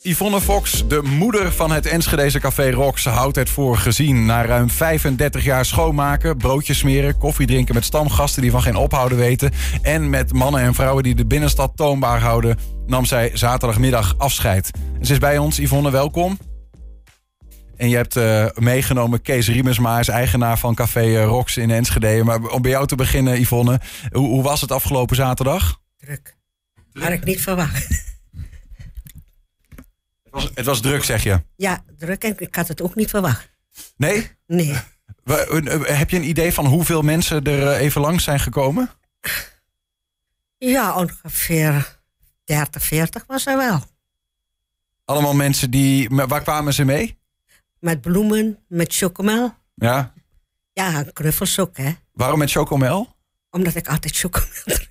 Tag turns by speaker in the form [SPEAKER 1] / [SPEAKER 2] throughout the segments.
[SPEAKER 1] Yvonne Fox, de moeder van het Enschedeze Café Rox, houdt het voor gezien. Na ruim 35 jaar schoonmaken, broodjes smeren, koffie drinken met stamgasten die van geen ophouden weten... en met mannen en vrouwen die de binnenstad toonbaar houden, nam zij zaterdagmiddag afscheid. En ze is bij ons. Yvonne, welkom. En je hebt eh, meegenomen Kees Riemensma, is eigenaar van Café eh, Rox in Enschede. Maar om bij jou te beginnen, Yvonne, hoe, hoe was het afgelopen zaterdag?
[SPEAKER 2] Druk. Had ik niet verwacht.
[SPEAKER 1] Het was druk, zeg je.
[SPEAKER 2] Ja, druk en ik had het ook niet verwacht.
[SPEAKER 1] Nee?
[SPEAKER 2] Nee.
[SPEAKER 1] We- eh, eh, Heb je een idee van hoeveel mensen er eh, even langs zijn gekomen?
[SPEAKER 2] Ja, ongeveer 30, 40 was er wel.
[SPEAKER 1] Allemaal mensen die. maar Waar kwamen ze mee?
[SPEAKER 2] Met bloemen, met chocomel.
[SPEAKER 1] Ja.
[SPEAKER 2] Ja, en knuffels ook, hè.
[SPEAKER 1] Waarom met chocomel?
[SPEAKER 2] Omdat ik altijd chocomel drink.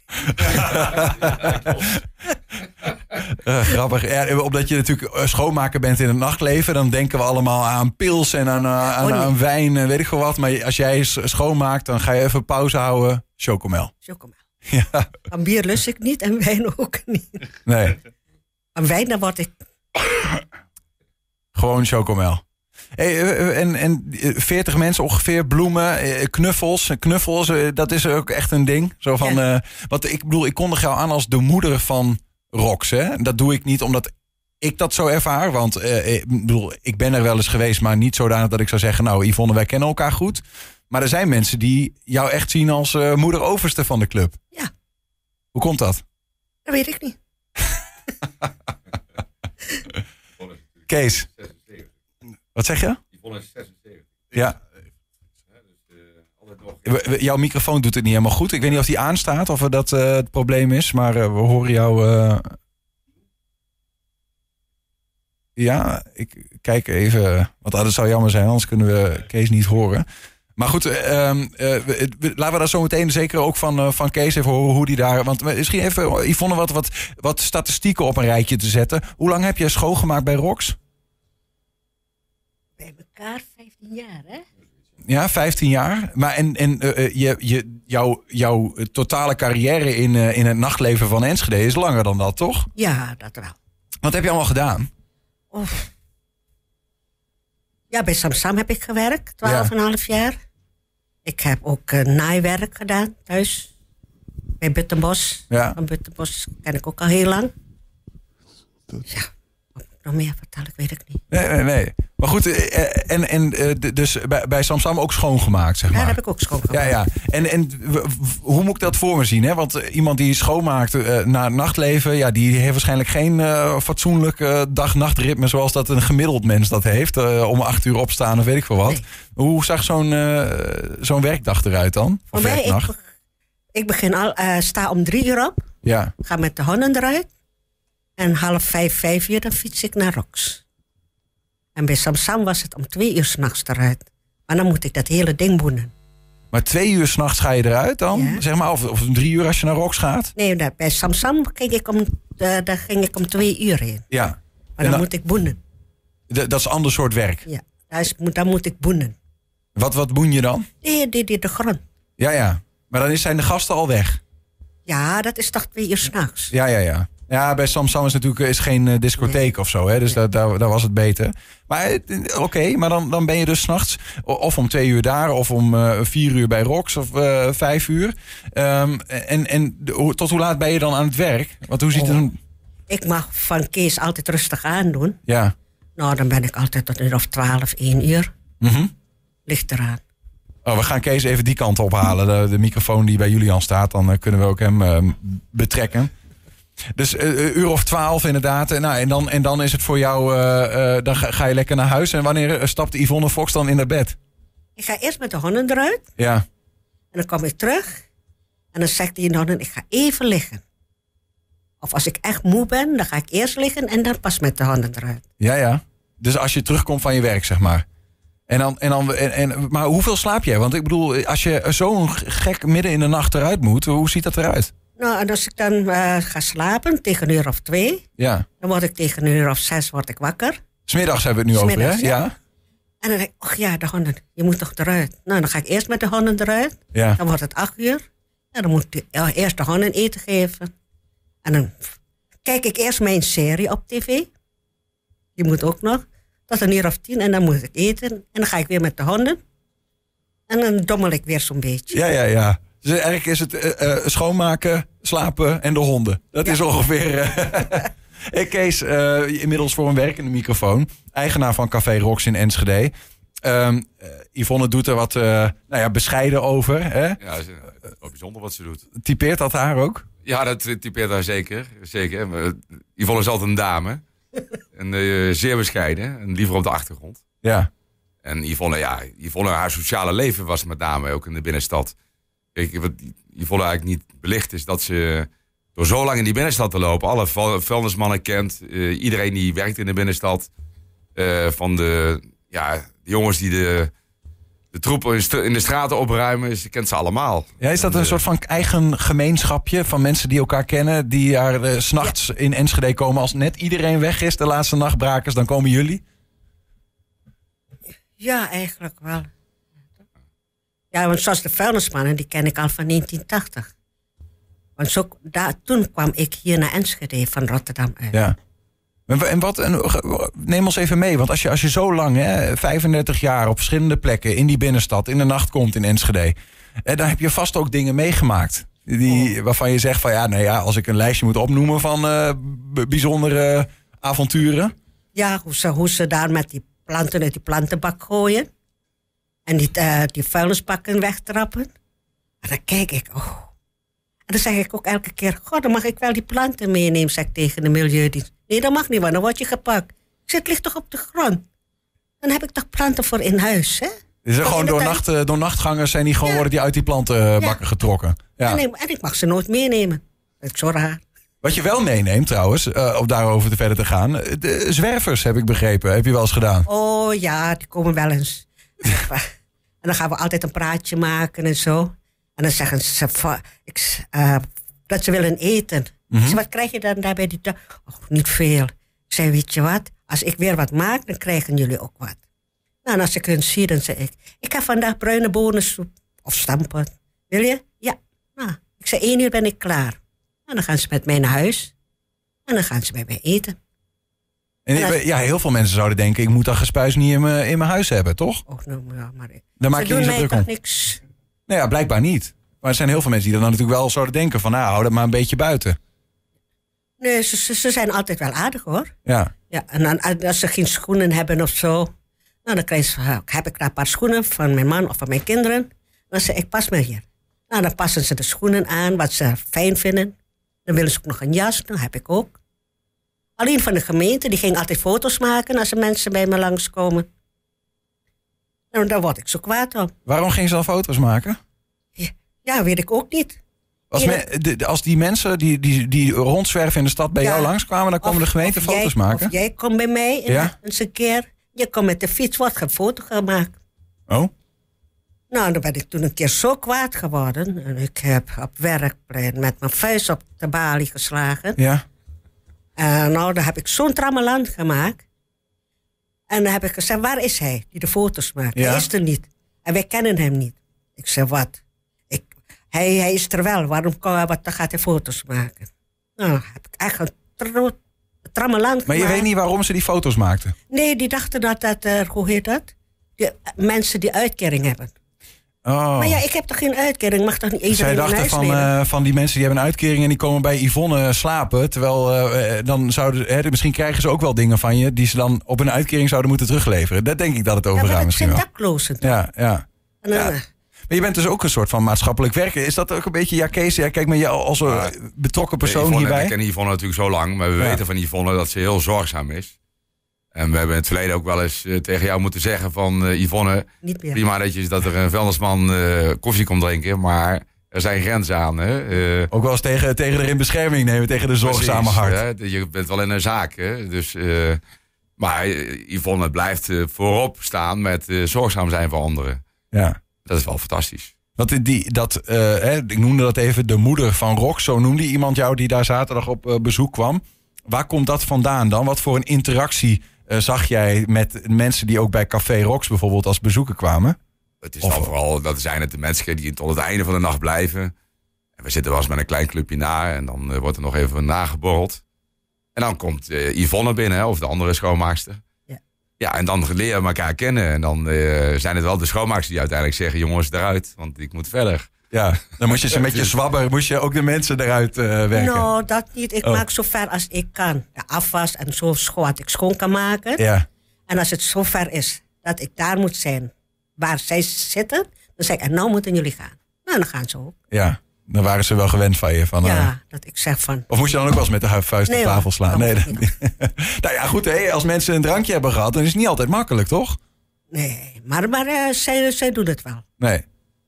[SPEAKER 1] Eh, grappig. Ja, omdat je natuurlijk eh, schoonmaker bent in het nachtleven, dan denken we allemaal aan pils en aan, eh, aan,
[SPEAKER 2] nee.
[SPEAKER 1] aan wijn en weet ik veel wat. Maar als jij s- schoonmaakt, dan ga je even pauze houden. Chocomel.
[SPEAKER 2] Chocomel.
[SPEAKER 1] Ja,
[SPEAKER 2] Van bier lust ik niet en wijn ook niet.
[SPEAKER 1] nee.
[SPEAKER 2] Van wijn, dan word ik...
[SPEAKER 1] Gewoon chocomel. Hey, eh, eh, en, en eh, 40 mensen ongeveer, bloemen, eh, knuffels. eh, Knuffels, eh, dat is ook echt een ding. Zo van, eh want ik bedoel, ik kondig jou aan als de moeder van Rox. Hè? Dat doe ik niet omdat ik dat zo ervaar. Want eh, ik bedoel, ik ben er wel eens geweest, maar niet zodanig dat ik zou zeggen... nou, Yvonne, wij kennen elkaar goed. Maar er zijn mensen die jou echt zien als eh, moeder overste van de club.
[SPEAKER 2] Ja.
[SPEAKER 1] Hoe komt dat?
[SPEAKER 2] Dat weet ik niet.
[SPEAKER 1] Kees, wat zeg je?
[SPEAKER 3] Yvonne is 76.
[SPEAKER 1] Ja,
[SPEAKER 3] Hè, dus eh, altijd nog.
[SPEAKER 1] We- we- Jouw microfoon doet het niet helemaal goed. Ik weet niet of die aanstaat of dat eh, het probleem is, maar eh, we horen jou. eh. Ja, ik kijk even. Want ah, dat zou jammer zijn, anders kunnen we Kees niet horen. Maar goed, eh, ehm, eh, we- het- we- laten we daar zo meteen zeker ook van, eh, van Kees even horen hoe die daar. Want eh, misschien even, Yvonne, wat, wat, wat statistieken op een rijtje te zetten. Hoe lang heb jij schoongemaakt bij Rox?
[SPEAKER 2] Bij elkaar 15 jaar, hè.
[SPEAKER 1] Ja, 15 jaar. Maar en, en eh, eh, je, je, jouw, jouw totale carrière in, eh, in het nachtleven van Enschede is langer dan dat, toch?
[SPEAKER 2] Ja, dat wel.
[SPEAKER 1] Wat heb je allemaal gedaan?
[SPEAKER 2] Of... Ja, bij Samsam heb ik gewerkt, 12,5 jaar. Ik heb ook eh, naaiwerk gedaan thuis. Bij Buttenbos.
[SPEAKER 1] Ja.
[SPEAKER 2] Van Buttenbos ken ik ook al heel lang. Ja, wat moet ik nog meer vertellen? Ik weet het niet.
[SPEAKER 1] Nee, nee, nee. Maar goed, eh, eh, en, en eh, d- dus bij, bij Samsam ook schoongemaakt, zeg
[SPEAKER 2] Ja, Daar
[SPEAKER 1] maar.
[SPEAKER 2] heb ik ook schoongemaakt.
[SPEAKER 1] Ja, ja. En, en w- w- hoe moet ik dat voor me zien? Hè? Want eh, iemand die schoonmaakt eh, na het nachtleven... Ja, die heeft waarschijnlijk geen eh, fatsoenlijk eh, dag-nachtritme... zoals dat een gemiddeld mens dat heeft. eh, om acht uur opstaan of weet ik veel wat.
[SPEAKER 2] Nee.
[SPEAKER 1] Hoe zag zo'n eh, zo'n werkdag eruit dan? Of
[SPEAKER 2] Voor mij, Oh, ik,
[SPEAKER 1] werknacht?
[SPEAKER 2] be- ik begin al, eh, sta om drie uur op,
[SPEAKER 1] Ja.
[SPEAKER 2] ga met de honden eruit. En half vijf, vijf uur, dan fiets ik naar Rox. En bij Samsam was het om twee uur s'nachts eruit. Maar dan moet ik dat hele ding boenen.
[SPEAKER 1] Maar twee uur s'nachts ga je eruit dan?
[SPEAKER 2] Ja.
[SPEAKER 1] Zeg maar, of, of drie uur als je naar Rox gaat?
[SPEAKER 2] Nee, daar- bij Samsam ging ik om, eh, daar ging ik om twee uur heen.
[SPEAKER 1] Ja.
[SPEAKER 2] Maar
[SPEAKER 1] En
[SPEAKER 2] dan
[SPEAKER 1] dan-
[SPEAKER 2] moet ik boenen.
[SPEAKER 1] D- dat is een ander soort werk.
[SPEAKER 2] Ja, daar is- moet- dan moet ik boenen.
[SPEAKER 1] Wat, wat boen je dan?
[SPEAKER 2] Nee, die, die, de grond.
[SPEAKER 1] Ja, ja. Maar dan is- zijn de gasten al weg.
[SPEAKER 2] Ja, dat is toch twee uur s'nachts.
[SPEAKER 1] Ja, ja, ja. Ja, bij Samsam is natuurlijk is geen eh, discotheek of zo. Hè? Dus daar, daar, daar was het beter. Maar eh, oké, maar dan, dan ben je dus s'nachts of om twee uur daar... of om eh, vier uur bij Rox of eh, vijf uur. Ehm, en en de- hoe- tot hoe laat ben je dan aan het werk? Want hoe ziet het... een-
[SPEAKER 2] Ik mag van Kees altijd rustig aandoen.
[SPEAKER 1] Ja.
[SPEAKER 2] Nou, dan ben ik altijd tot een uur of twaalf, één uur.
[SPEAKER 1] Mhm.
[SPEAKER 2] Ligt eraan.
[SPEAKER 1] Oh, we gaan Kees even die kant ophalen. De, de microfoon die bij Julian staat, dan eh, kunnen we ook hem eh, betrekken. Dus eh, eh, uur of twaalf inderdaad. Eh, Nou, en, dan, en dan is het voor jou, eh, eh, dan ga, ga je lekker naar huis. En wanneer eh, stapt Yvonne Fox dan in haar bed?
[SPEAKER 2] Ik ga eerst met de honden eruit.
[SPEAKER 1] Ja,
[SPEAKER 2] En dan kom ik terug. En dan zegt die honden, ik ga even liggen. Of als ik echt moe ben, dan ga ik eerst liggen en dan pas met de honden eruit.
[SPEAKER 1] ja, ja. Dus als je terugkomt van je werk, zeg maar. En dan, en dan, en, en, maar hoeveel slaap jij? Want ik bedoel, eh, als je zo gek midden in de nacht eruit moet, hoe ziet dat eruit?
[SPEAKER 2] Nou, en als ik dan eh, ga slapen tegen een uur of twee,
[SPEAKER 1] Ja.
[SPEAKER 2] dan word ik tegen een uur of zes word ik wakker.
[SPEAKER 1] Smiddags hebben we het nu
[SPEAKER 2] Smiddags,
[SPEAKER 1] over, hè?
[SPEAKER 2] ja.
[SPEAKER 1] Ja.
[SPEAKER 2] En dan denk ik, och ja, de honden, je moet toch eruit. Nou, dan ga ik eerst met de honden eruit.
[SPEAKER 1] ja.
[SPEAKER 2] Dan wordt het acht uur. En dan moet ik e- eerst de honden eten geven. En dan pff, kijk ik eerst mijn serie op tv. Die moet ook nog. Tot een uur of tien en dan moet ik eten. En dan ga ik weer met de honden. En dan dommel ik weer zo'n beetje.
[SPEAKER 1] Ja, ja, ja. Dus eigenlijk is het eh, eh, schoonmaken, slapen en de honden. Dat is ongeveer. eh, Eh, Kees, eh, inmiddels voor een werkende microfoon. Eigenaar van Café Rox in Enschede. Ehm, eh, Yvonne doet er wat eh, nou ja, bescheiden over. Hè?
[SPEAKER 3] Ja, dat is eh, dat is wel bijzonder wat ze doet.
[SPEAKER 1] Typeert dat haar ook?
[SPEAKER 3] Ja, dat eh, typeert haar zeker. zeker. Maar, eh, Yvonne is altijd een dame. En eh, zeer bescheiden. En liever op de achtergrond.
[SPEAKER 1] Ja,
[SPEAKER 3] En Yvonne, ja, Yvonne, haar sociale leven was met name ook in de binnenstad. Kijk, wat Yvonne eigenlijk niet belicht is dat ze door zo lang in die binnenstad te lopen... alle vuil- vuilnismannen kent, eh, iedereen die werkt in de binnenstad... eh, van de, ja, de jongens die de, de troepen in stra- in de straten opruimen, ze kent ze allemaal.
[SPEAKER 1] ja is dat
[SPEAKER 3] En,
[SPEAKER 1] een
[SPEAKER 3] eh,
[SPEAKER 1] soort van eigen gemeenschapje van mensen die elkaar kennen? Die daar eh, s s'nachts in Enschede komen. Als net iedereen weg is, de laatste nachtbrakers, dan komen jullie.
[SPEAKER 2] Ja, eigenlijk wel. Ja, want zoals de vuilnismannen, die ken ik al van 1980. Want zo, daar, toen kwam ik hier naar Enschede van Rotterdam uit.
[SPEAKER 1] Ja. En wa- en wat, en ge- neem ons even mee, want als je, als je zo lang, hè, 35 jaar op verschillende plekken in die binnenstad, in de nacht komt in Enschede, eh, dan heb je vast ook dingen meegemaakt. Die,
[SPEAKER 2] Oh.
[SPEAKER 1] Waarvan je zegt van ja, nou ja, als ik een lijstje moet opnoemen van eh, b- bijzondere avonturen.
[SPEAKER 2] Ja, hoe ze, hoe ze daar met die planten uit die plantenbak gooien. En die, eh, die vuilnisbakken wegtrappen. En dan kijk ik, oh. En dan zeg ik ook elke keer, god, dan mag ik wel die planten meenemen, zeg ik tegen de milieudienst. Nee, dat mag niet, want dan word je gepakt. Ik zeg, het ligt toch op de grond? Dan heb ik toch planten voor in huis, hè?
[SPEAKER 1] Dus er
[SPEAKER 2] Toch
[SPEAKER 1] gewoon
[SPEAKER 2] in de
[SPEAKER 1] door,
[SPEAKER 2] tuin?
[SPEAKER 1] nacht, eh, door nachtgangers zijn die gewoon worden die uit die plantenbakken getrokken. Ja.
[SPEAKER 2] En, ik, en ik mag ze nooit meenemen. Dat is zo raar.
[SPEAKER 1] Wat je wel meeneemt trouwens, eh, om daarover te verder te gaan, eh, de zwervers heb ik begrepen, heb je wel eens gedaan.
[SPEAKER 2] Oh ja, die komen wel eens. en dan gaan we altijd een praatje maken en zo. En dan zeggen ze va- ik, s- eh, dat ze willen eten. Ik
[SPEAKER 1] Mhm.
[SPEAKER 2] zeg, wat krijg je dan daarbij? Die ta- oh, niet veel. Ik zei, weet je wat? Als ik weer wat maak, dan krijgen jullie ook wat. Nou, en als ik hun zie, dan zeg ik... Ik heb vandaag bruine bonensoep of stampen. Wil je? Ja. Nou, ik zei, één uur ben ik klaar. En dan gaan ze met mij naar huis. En dan gaan ze bij mij eten.
[SPEAKER 1] En, eh, ja, heel veel mensen zouden denken, ik moet dat gespuis niet in mijn in mijn huis hebben, toch?
[SPEAKER 2] Oh, nou, ja, maar ik...
[SPEAKER 1] Daar maak
[SPEAKER 2] ze
[SPEAKER 1] je niet
[SPEAKER 2] doen
[SPEAKER 1] zo
[SPEAKER 2] mij
[SPEAKER 1] druk
[SPEAKER 2] toch
[SPEAKER 1] om.
[SPEAKER 2] niks...
[SPEAKER 1] Nou ja, blijkbaar niet. Maar er zijn heel veel mensen die dan natuurlijk wel zouden denken van... nou, hou dat maar een beetje buiten.
[SPEAKER 2] Nee, ze, ze, ze zijn altijd wel aardig hoor.
[SPEAKER 1] Ja,
[SPEAKER 2] Ja, en dan, en als ze geen schoenen hebben of zo, nou, dan krijg ze, eh, heb ik daar een paar schoenen van mijn man of van mijn kinderen. Dan zeg ik, pas maar hier. Nou, dan passen ze de schoenen aan, wat ze fijn vinden. Dan willen ze ook nog een jas, nou heb ik ook. Alleen van de gemeente, die ging altijd foto's maken als er mensen bij me langskomen. Nou, daar word ik zo kwaad om.
[SPEAKER 1] waarom gingen ze dan foto's maken?
[SPEAKER 2] Ja, weet ik ook niet.
[SPEAKER 1] Als, me- de- de- als die mensen die, die, die rondzwerven in de stad bij
[SPEAKER 2] Ja.
[SPEAKER 1] jou langskwamen... dan kwam de
[SPEAKER 2] Of-
[SPEAKER 1] gemeente
[SPEAKER 2] of
[SPEAKER 1] foto's
[SPEAKER 2] jij,
[SPEAKER 1] maken?
[SPEAKER 2] Of jij komt bij mij en-
[SPEAKER 1] Ja.
[SPEAKER 2] eens een keer. Je komt met de fiets, wordt geen foto gemaakt.
[SPEAKER 1] Oh,
[SPEAKER 2] Nou, dan ben ik toen een keer zo kwaad geworden. En ik heb op werkplein met mijn vuist op de balie geslagen.
[SPEAKER 1] ja.
[SPEAKER 2] En nou, daar heb ik zo'n trammeland gemaakt. En dan heb ik gezegd, waar is hij die de foto's maakt?
[SPEAKER 1] Ja.
[SPEAKER 2] Hij is er niet. En wij kennen hem niet. Ik zei, wat? Ik, hij, hij is er wel, waarom kan hij, wat, dan gaat hij foto's maken? Nou, heb ik echt een tro- trammeland
[SPEAKER 1] Maar je
[SPEAKER 2] gemaakt.
[SPEAKER 1] weet niet waarom ze die foto's maakten.
[SPEAKER 2] Nee, die dachten dat dat, eh, hoe heet dat? Die, eh, mensen die uitkering hebben.
[SPEAKER 1] Oh.
[SPEAKER 2] Maar ja, ik heb toch geen uitkering? Mag toch niet iedereen
[SPEAKER 1] Zij
[SPEAKER 2] in
[SPEAKER 1] dachten
[SPEAKER 2] huis
[SPEAKER 1] van,
[SPEAKER 2] nemen?
[SPEAKER 1] eh, van die mensen die hebben een uitkering... en die komen bij Yvonne eh, slapen. Terwijl eh, eh, dan zouden... Hè, misschien krijgen ze ook wel dingen van je... die ze dan op een uitkering zouden moeten terugleveren. Dat denk ik dat het over
[SPEAKER 2] ja, maar
[SPEAKER 1] gaat
[SPEAKER 2] dat
[SPEAKER 1] misschien
[SPEAKER 2] zijn
[SPEAKER 1] wel.
[SPEAKER 2] daklozen.
[SPEAKER 1] Ja, ja.
[SPEAKER 2] En dan,
[SPEAKER 1] ja.
[SPEAKER 2] eh,
[SPEAKER 1] Maar je bent dus ook een soort van maatschappelijk werker. Is dat ook een beetje, ja Kees, ja, kijk maar jou als een
[SPEAKER 3] Ja.
[SPEAKER 1] betrokken persoon
[SPEAKER 3] Yvonne,
[SPEAKER 1] hierbij?
[SPEAKER 3] We kennen Yvonne natuurlijk zo lang, maar we
[SPEAKER 1] Ja.
[SPEAKER 3] weten van Yvonne dat ze heel zorgzaam is. En we hebben in het verleden ook wel eens eh, tegen jou moeten zeggen van eh, Yvonne,
[SPEAKER 2] niet meer.
[SPEAKER 3] prima dat, je, dat er een vuilnisman eh, koffie komt drinken, maar er zijn grenzen aan. Hè? Eh,
[SPEAKER 1] Ook wel eens tegen, tegen de in bescherming nemen, tegen de zorgzame
[SPEAKER 3] Precies,
[SPEAKER 1] hart.
[SPEAKER 3] hè. Je bent wel in een zaak, hè? Dus, eh, maar eh, Yvonne blijft eh, voorop staan met eh, zorgzaam zijn voor anderen.
[SPEAKER 1] Ja.
[SPEAKER 3] Dat is wel fantastisch.
[SPEAKER 1] Dat, die, dat, eh, hè, ik noemde dat even de moeder van Rock. Zo noemde iemand jou die daar zaterdag op eh, bezoek kwam. Waar komt dat vandaan dan? Wat voor een interactie eh, zag jij met mensen die ook bij Café Rocks bijvoorbeeld als bezoeker kwamen?
[SPEAKER 3] Het is
[SPEAKER 1] Of-
[SPEAKER 3] dan vooral, dat zijn het de mensen die tot het einde van de nacht blijven. En we zitten wel eens met een klein clubje na en dan eh, wordt er nog even nageborreld. En dan komt eh, Yvonne binnen, hè, of de andere schoonmaakster.
[SPEAKER 2] Ja.
[SPEAKER 3] Ja, en dan leren we elkaar kennen. En dan eh, zijn het wel de schoonmaaksters die uiteindelijk zeggen... jongens, eruit, want ik moet verder.
[SPEAKER 1] Ja, dan moest je ze met je zwabber, moest je ook de mensen eruit eh, werken.
[SPEAKER 2] Nou, dat niet. Ik
[SPEAKER 1] Oh.
[SPEAKER 2] maak zo ver als ik kan. De afwas en zo scho- wat ik schoon kan maken.
[SPEAKER 1] Ja,
[SPEAKER 2] En als het zo ver is dat ik daar moet zijn waar zij zitten, dan zeg ik, en nou moeten jullie gaan. Nou, dan gaan ze ook.
[SPEAKER 1] ja. Dan waren ze wel gewend van je. Van, eh,
[SPEAKER 2] Ja, dat ik zeg van,
[SPEAKER 1] Of moest je dan ook wel eens met de hu- vuist
[SPEAKER 2] Nee,
[SPEAKER 1] op
[SPEAKER 2] hoor.
[SPEAKER 1] tafel slaan?
[SPEAKER 2] Dat
[SPEAKER 1] Nee,
[SPEAKER 2] mocht
[SPEAKER 1] dat- nou ja, goed. Hè, als mensen een drankje hebben gehad, dan is het niet altijd makkelijk, toch?
[SPEAKER 2] nee, maar, maar eh, zij, zij doen het wel.
[SPEAKER 1] Nee.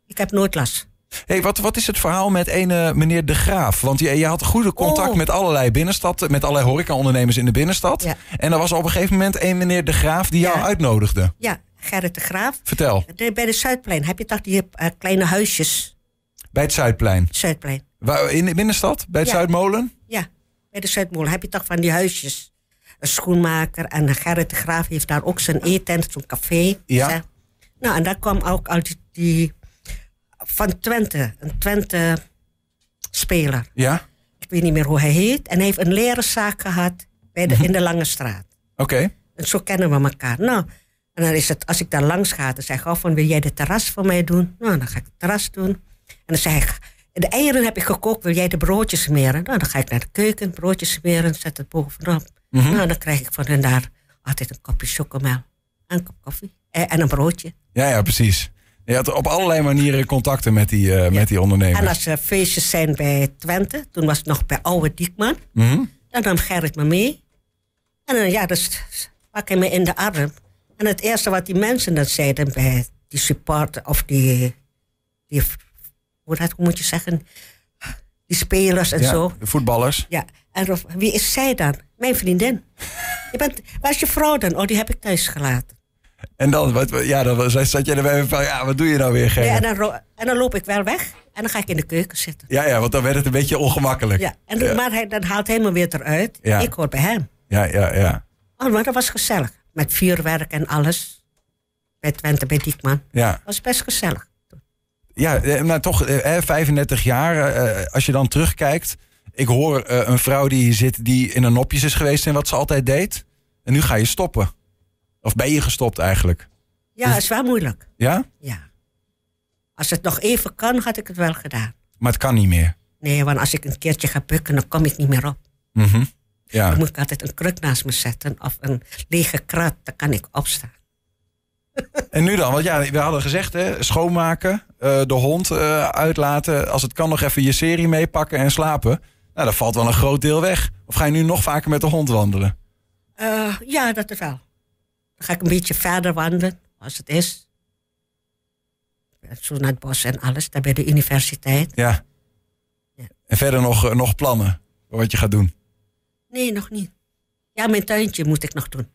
[SPEAKER 2] Ik heb nooit last.
[SPEAKER 1] Hey, wat, wat is het verhaal met ene meneer De Graaf? Want je, je had goede contact
[SPEAKER 2] Oh.
[SPEAKER 1] met allerlei binnenstad, met allerlei horecaondernemers in de binnenstad.
[SPEAKER 2] Ja.
[SPEAKER 1] En er was op een gegeven moment één meneer De Graaf die jou
[SPEAKER 2] Ja.
[SPEAKER 1] uitnodigde.
[SPEAKER 2] Ja, Gerrit de Graaf.
[SPEAKER 1] Vertel,
[SPEAKER 2] De- Bij de Zuidplein heb je toch die eh, kleine huisjes?
[SPEAKER 1] bij het Zuidplein.
[SPEAKER 2] Zuidplein.
[SPEAKER 1] Waar, in de binnenstad? Bij het
[SPEAKER 2] Ja.
[SPEAKER 1] Zuidmolen?
[SPEAKER 2] Ja, bij de Zuidmolen heb je toch van die huisjes. Een schoenmaker en Gerrit de Graaf heeft daar ook zijn eetent, zo'n café.
[SPEAKER 1] Ja.
[SPEAKER 2] Zeg. Nou, en daar kwam ook al die, die- van Twente, een Twente speler.
[SPEAKER 1] Ja, oké.
[SPEAKER 2] Ik weet niet meer hoe hij heet. En hij heeft een leren zaak gehad bij de, in de Lange Straat. En zo kennen we elkaar. Nou, en dan is het, als ik daar langs ga, dan zeg ik al van, wil jij de terras voor mij doen? Nou, dan ga ik het terras doen. En dan zeg ik, de eieren heb ik gekookt, wil jij de broodjes smeren? Nou, dan ga ik naar de keuken, broodjes smeren, zet het bovenop. Nou, dan krijg ik van hen daar altijd een kopje chocomel en een kop koffie eh, en een broodje.
[SPEAKER 1] Ja, ja, precies. Je had op allerlei manieren contacten met die, eh, met die
[SPEAKER 2] En
[SPEAKER 1] ondernemers.
[SPEAKER 2] als er feestjes zijn bij Twente, toen was het nog bij Oude Diekman,
[SPEAKER 1] Mhm.
[SPEAKER 2] dan nam Gerrit me mee. En dan, ja, dus pak hij me in de arm. En het eerste wat die mensen dan zeiden bij die support of die, die hoe, dat, hoe moet je zeggen, die spelers en
[SPEAKER 1] Ja,
[SPEAKER 2] zo.
[SPEAKER 1] De voetballers.
[SPEAKER 2] Ja, en of- wie is zij dan? Mijn vriendin. Je bent, waar is je vrouw dan? Oh, die heb ik thuis gelaten.
[SPEAKER 1] En dan, wat, wat- ja, dan zei- zat jij erbij van, ja, wat doe je nou weer, Gerrit?
[SPEAKER 2] Ja, en, dan, ro- en dan loop ik wel weg en dan ga ik in de keuken zitten.
[SPEAKER 1] Ja, ja, want dan werd het een beetje ongemakkelijk.
[SPEAKER 2] Ja, en, dan- Maar hij, dan haalt hij me weer eruit.
[SPEAKER 1] Ja.
[SPEAKER 2] Ik hoor bij hem.
[SPEAKER 1] ja, ja. ja.
[SPEAKER 2] Oh, maar dat was gezellig. Met vuurwerk en alles. Bij Twente, bij Diekman.
[SPEAKER 1] ja.
[SPEAKER 2] was best gezellig.
[SPEAKER 1] Ja, eh, maar toch, eh, eh, 35 jaar, eh, als je dan terugkijkt. Ik hoor eh, een vrouw die hier zit die in een nopjes is geweest en wat ze altijd deed. En nu ga je stoppen. Of ben je gestopt eigenlijk? Dus
[SPEAKER 2] Ja, is wel moeilijk.
[SPEAKER 1] Ja?
[SPEAKER 2] Ja. Als het nog even kan, had ik het wel gedaan.
[SPEAKER 1] Maar het kan niet meer.
[SPEAKER 2] Nee, want als ik een keertje ga bukken, dan kom ik niet meer op.
[SPEAKER 1] Mhm. Ja.
[SPEAKER 2] Dan moet ik altijd een kruk naast me zetten of een lege krat, dan kan ik opstaan.
[SPEAKER 1] En nu dan? Want ja, we hadden gezegd, hè, schoonmaken, eh, de hond eh, uitlaten. Als het kan nog even je serie meepakken en slapen. Nou, dat valt wel een groot deel weg. Of ga je nu nog vaker met de hond wandelen?
[SPEAKER 2] Eh, ja, dat is wel. Dan ga ik een beetje verder wandelen, als het is. Zo naar het bos en alles, daar bij de universiteit.
[SPEAKER 1] Ja.
[SPEAKER 2] Ja.
[SPEAKER 1] En verder nog, eh, nog plannen voor wat je gaat doen.
[SPEAKER 2] Nee, nog niet. Ja, mijn tuintje moet ik nog doen.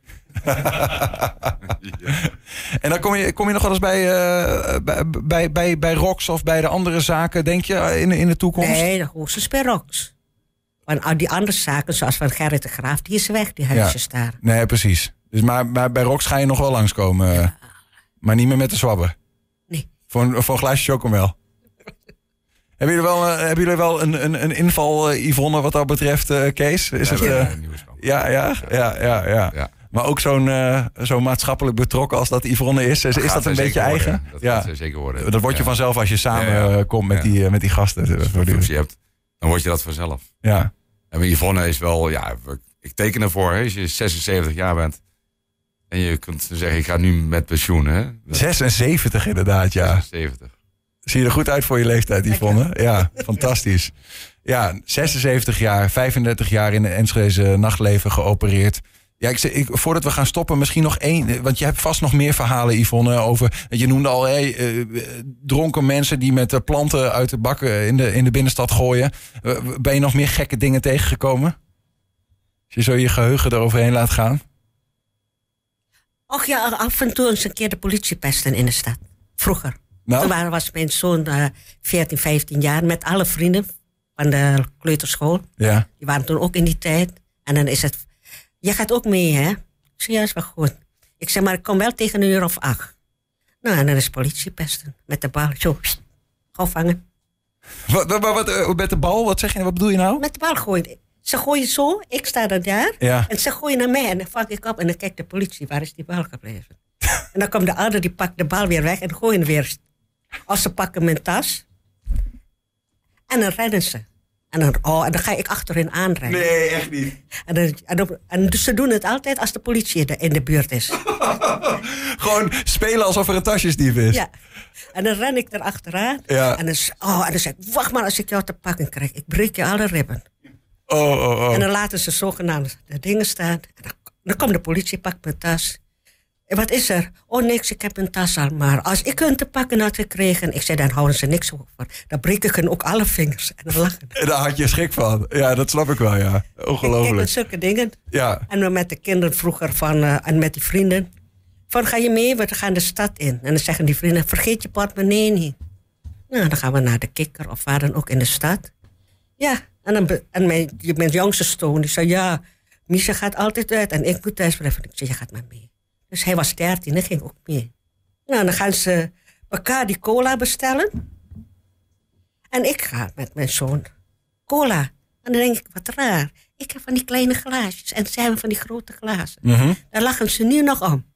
[SPEAKER 1] En dan kom je, kom je nog wel eens bij, eh, bij, bij, bij, bij Rox of bij de andere zaken, denk je, eh, in, in de toekomst?
[SPEAKER 2] Nee, de hoogstens bij Rox. Want al die andere zaken, zoals van Gerrit de Graaf, die is weg, die huisjes daar.
[SPEAKER 1] Nee, precies. Dus maar, maar bij Rox ga je nog wel langskomen. eh, Maar niet meer met de zwabber.
[SPEAKER 2] Nee.
[SPEAKER 1] Voor een, voor een glaasje chocomel. hebben jullie wel, eh, hebben jullie wel een, een, een inval, eh, Yvonne, wat dat betreft, eh, Kees? Is het, eh, ja, ja, ja, ja, ja.
[SPEAKER 3] Ja.
[SPEAKER 1] Maar ook zo'n eh, zo maatschappelijk betrokken als dat Yvonne is. Is, is dat een beetje eigen?
[SPEAKER 3] Dat
[SPEAKER 1] ja.
[SPEAKER 3] gaat zij zeker worden.
[SPEAKER 1] Dat word je
[SPEAKER 3] Ja.
[SPEAKER 1] vanzelf als je samen
[SPEAKER 3] Ja, ja.
[SPEAKER 1] eh, komt met,
[SPEAKER 3] Ja.
[SPEAKER 1] die, eh, met die gasten.
[SPEAKER 3] Als je een functie hebt, dan word je dat vanzelf.
[SPEAKER 1] Ja,
[SPEAKER 3] En maar Yvonne is wel, ja, we- ik teken ervoor. Hè, als je 76 jaar bent en je kunt zeggen, ik ga nu met pensioen. Hè? Dat is
[SPEAKER 1] 76 inderdaad, ja.
[SPEAKER 3] 76.
[SPEAKER 1] Zie je er goed uit voor je leeftijd, Yvonne. Ja, fantastisch. Ja, 76 jaar, 35 jaar in de Enschedeze nachtleven geopereerd. Ja, ik, zeg- ik, voordat we gaan stoppen, misschien nog één. eh, Want je hebt vast nog meer verhalen, Yvonne, over... Je noemde al hè, eh, dronken mensen die met eh, planten uit de bakken in de, in de binnenstad gooien. Eh, Ben je nog meer gekke dingen tegengekomen? Als je zo je geheugen eroverheen laat gaan.
[SPEAKER 2] Och ja, af en toe eens een keer de politie pesten in de stad. Vroeger. Toen
[SPEAKER 1] Nou,
[SPEAKER 2] waren- was mijn zoon eh, 14, 15 jaar met alle vrienden van de kleuterschool.
[SPEAKER 1] ja.
[SPEAKER 2] Die waren toen ook in die tijd. En dan is het, jij gaat ook mee hè? Ik zeg, ja, is wel goed. Ik zeg, maar ik kom wel tegen een uur of acht. Nou, en dan is politie pesten. Met de bal, zo, pssst, gauw vangen.
[SPEAKER 1] Wat, wat, wat, eh, met de bal, wat zeg je? Wat bedoel je nou?
[SPEAKER 2] Met de bal gooien. Ze gooien zo, ik sta dan daar.
[SPEAKER 1] Ja.
[SPEAKER 2] En ze gooien naar mij en dan vang ik op en dan kijkt de politie, waar is die bal gebleven? en dan komt de ander, die pakt de bal weer weg en gooien weer. Of ze pakken mijn tas. En dan rennen ze. En dan, oh, en dan ga ik achterin aanrennen.
[SPEAKER 3] Nee, echt niet.
[SPEAKER 2] En, dan, en, dan- en dus ze doen het altijd als de politie in de, in de buurt is.
[SPEAKER 1] Gewoon spelen alsof er een tasjesdief is.
[SPEAKER 2] Ja. En dan ren ik erachteraan.
[SPEAKER 1] Ja.
[SPEAKER 2] En, dan, z- oh, en dan zeg ik, wacht maar als ik jou te pakken krijg. Ik breek je alle ribben.
[SPEAKER 1] Oh, oh,
[SPEAKER 2] En
[SPEAKER 1] oh.
[SPEAKER 2] dan laten ze zogenaamd de dingen staan. En dan, dan komt de politie, pakt mijn tas. En wat is er? Oh niks, ik heb een tas al. Maar als ik hun te pakken had gekregen... Ik zei, dan houden ze niks over. Dan breek ik hun ook alle vingers. En dan lachen.
[SPEAKER 1] Daar had je schrik van. Ja, dat snap ik wel, ja.
[SPEAKER 2] Kijk, met
[SPEAKER 1] Ongelooflijk.
[SPEAKER 2] zulke dingen.
[SPEAKER 1] Ja.
[SPEAKER 2] En we met de kinderen vroeger van, eh, en met die vrienden. Van ga je mee, we gaan de stad in. En dan zeggen die vrienden, vergeet je portemonnee niet. Nou, dan gaan we naar de kikker of waar dan ook in de stad. Ja, en, dan, be- en mijn, die- mijn jongste stoon, die zei ja, Misha gaat altijd uit en ik moet thuis blijven. Ik zei, je gaat maar mee. Dus hij was dertien en ging ook mee. Nou, dan gaan ze elkaar die cola bestellen. En ik ga met mijn zoon cola. En dan denk ik, wat raar. Ik heb van die kleine glaasjes en zij hebben van die grote glazen.
[SPEAKER 1] Mhm.
[SPEAKER 2] Daar lachen ze nu nog om.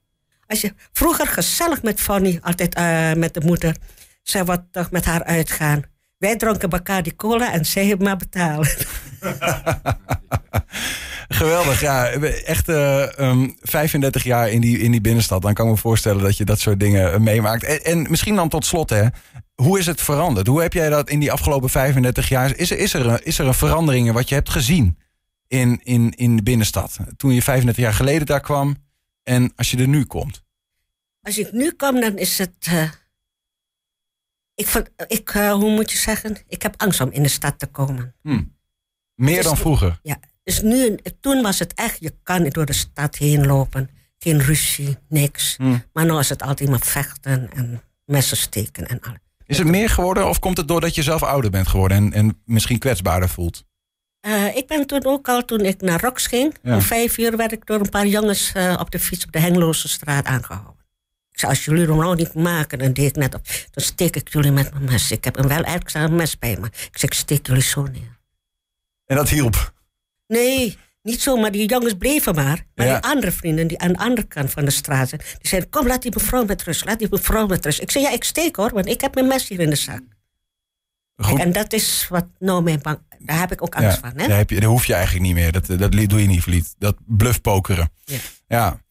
[SPEAKER 2] Als je vroeger gezellig met Fanny, altijd eh, met de moeder, zij wat toch met haar uitgaan. Wij dronken Bacardi cola en zij hebben maar betalen.
[SPEAKER 1] Geweldig, ja. Echt eh, ehm, 35 jaar in die, in die binnenstad. Dan kan ik me voorstellen dat je dat soort dingen eh, meemaakt. En, en misschien dan tot slot, hè. Hoe is het veranderd? Hoe heb jij dat in die afgelopen 35 jaar... Is er, is er, een, is er een verandering in wat je hebt gezien in, in, in de binnenstad? Toen je 35 jaar geleden daar kwam en als je er nu komt.
[SPEAKER 2] Als ik nu kom, dan is het. eh, ik, vond- ik, eh, hoe moet je zeggen? Ik heb angst om in de stad te komen.
[SPEAKER 1] Hmm. Meer dan vroeger.
[SPEAKER 2] Ja, dus nu, toen was het echt, je kan door de stad heen lopen. Geen ruzie, niks. Maar nu is het altijd maar vechten en messen steken en alles.
[SPEAKER 1] Is het meer geworden of komt het doordat je zelf ouder bent geworden... en, en misschien kwetsbaarder voelt?
[SPEAKER 2] Eh, ik ben toen ook al, toen ik naar Rox ging,
[SPEAKER 1] Ja.
[SPEAKER 2] om vijf uur werd ik door een paar jongens eh, op de fiets op de Hengloze straat aangehouden. Ik zei, als jullie hem nou niet maken, dan deed ik net op. Dan steek ik jullie met mijn mes. Ik heb een wel extra mes bij me. Ik zei, ik steek jullie zo neer.
[SPEAKER 1] En dat hielp.
[SPEAKER 2] Nee, niet zo, maar die jongens bleven maar. Maar
[SPEAKER 1] Ja.
[SPEAKER 2] die andere vrienden die aan de andere kant van de straat zijn, die zeiden, kom, laat die mevrouw met rust, laat die mevrouw met rust. Ik zei, ja, ik steek hoor, want ik heb mijn mes hier in de zak.
[SPEAKER 1] Goed.
[SPEAKER 2] En dat is wat nou mijn bang, daar heb ik ook
[SPEAKER 1] Ja,
[SPEAKER 2] angst van, hè?
[SPEAKER 1] Daar, heb je, daar hoef je eigenlijk niet meer. Dat, eh, dat li- doe je niet, verliet. Dat bluffpokeren.
[SPEAKER 2] Ja.
[SPEAKER 1] ja.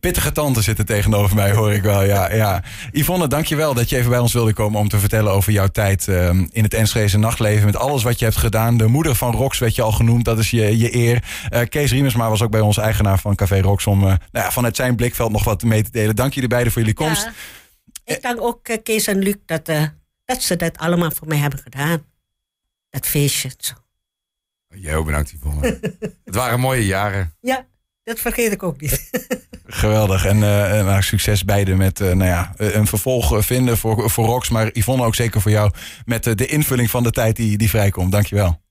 [SPEAKER 1] Pittige tante zitten tegenover mij, hoor ik wel. Ja, ja. Yvonne, dankjewel dat je even bij ons wilde komen om te vertellen over jouw tijd ehm, in het Enschedeze nachtleven. Met alles wat je hebt gedaan. De moeder van Rox werd je al genoemd, dat is je, je eer. Eh, Kees Riemersma was ook bij ons eigenaar van Café Rox om eh, nou ja, vanuit zijn blikveld nog wat mee te delen. Dank jullie beiden voor jullie komst.
[SPEAKER 2] Ja. Ik dank ook eh, Kees en Luc dat, eh, dat ze dat allemaal voor mij hebben gedaan. Dat feestje. en Zo.
[SPEAKER 3] Jij ook bedankt, Yvonne. het waren mooie jaren.
[SPEAKER 2] Ja, dat vergeet ik ook niet.
[SPEAKER 1] Geweldig. En eh, eh, nou, succes beiden met eh, nou ja, eh, een vervolg eh, vinden voor, voor Rox. Maar Yvonne ook zeker voor jou met eh, de invulling van de tijd die, die vrijkomt. Dankjewel.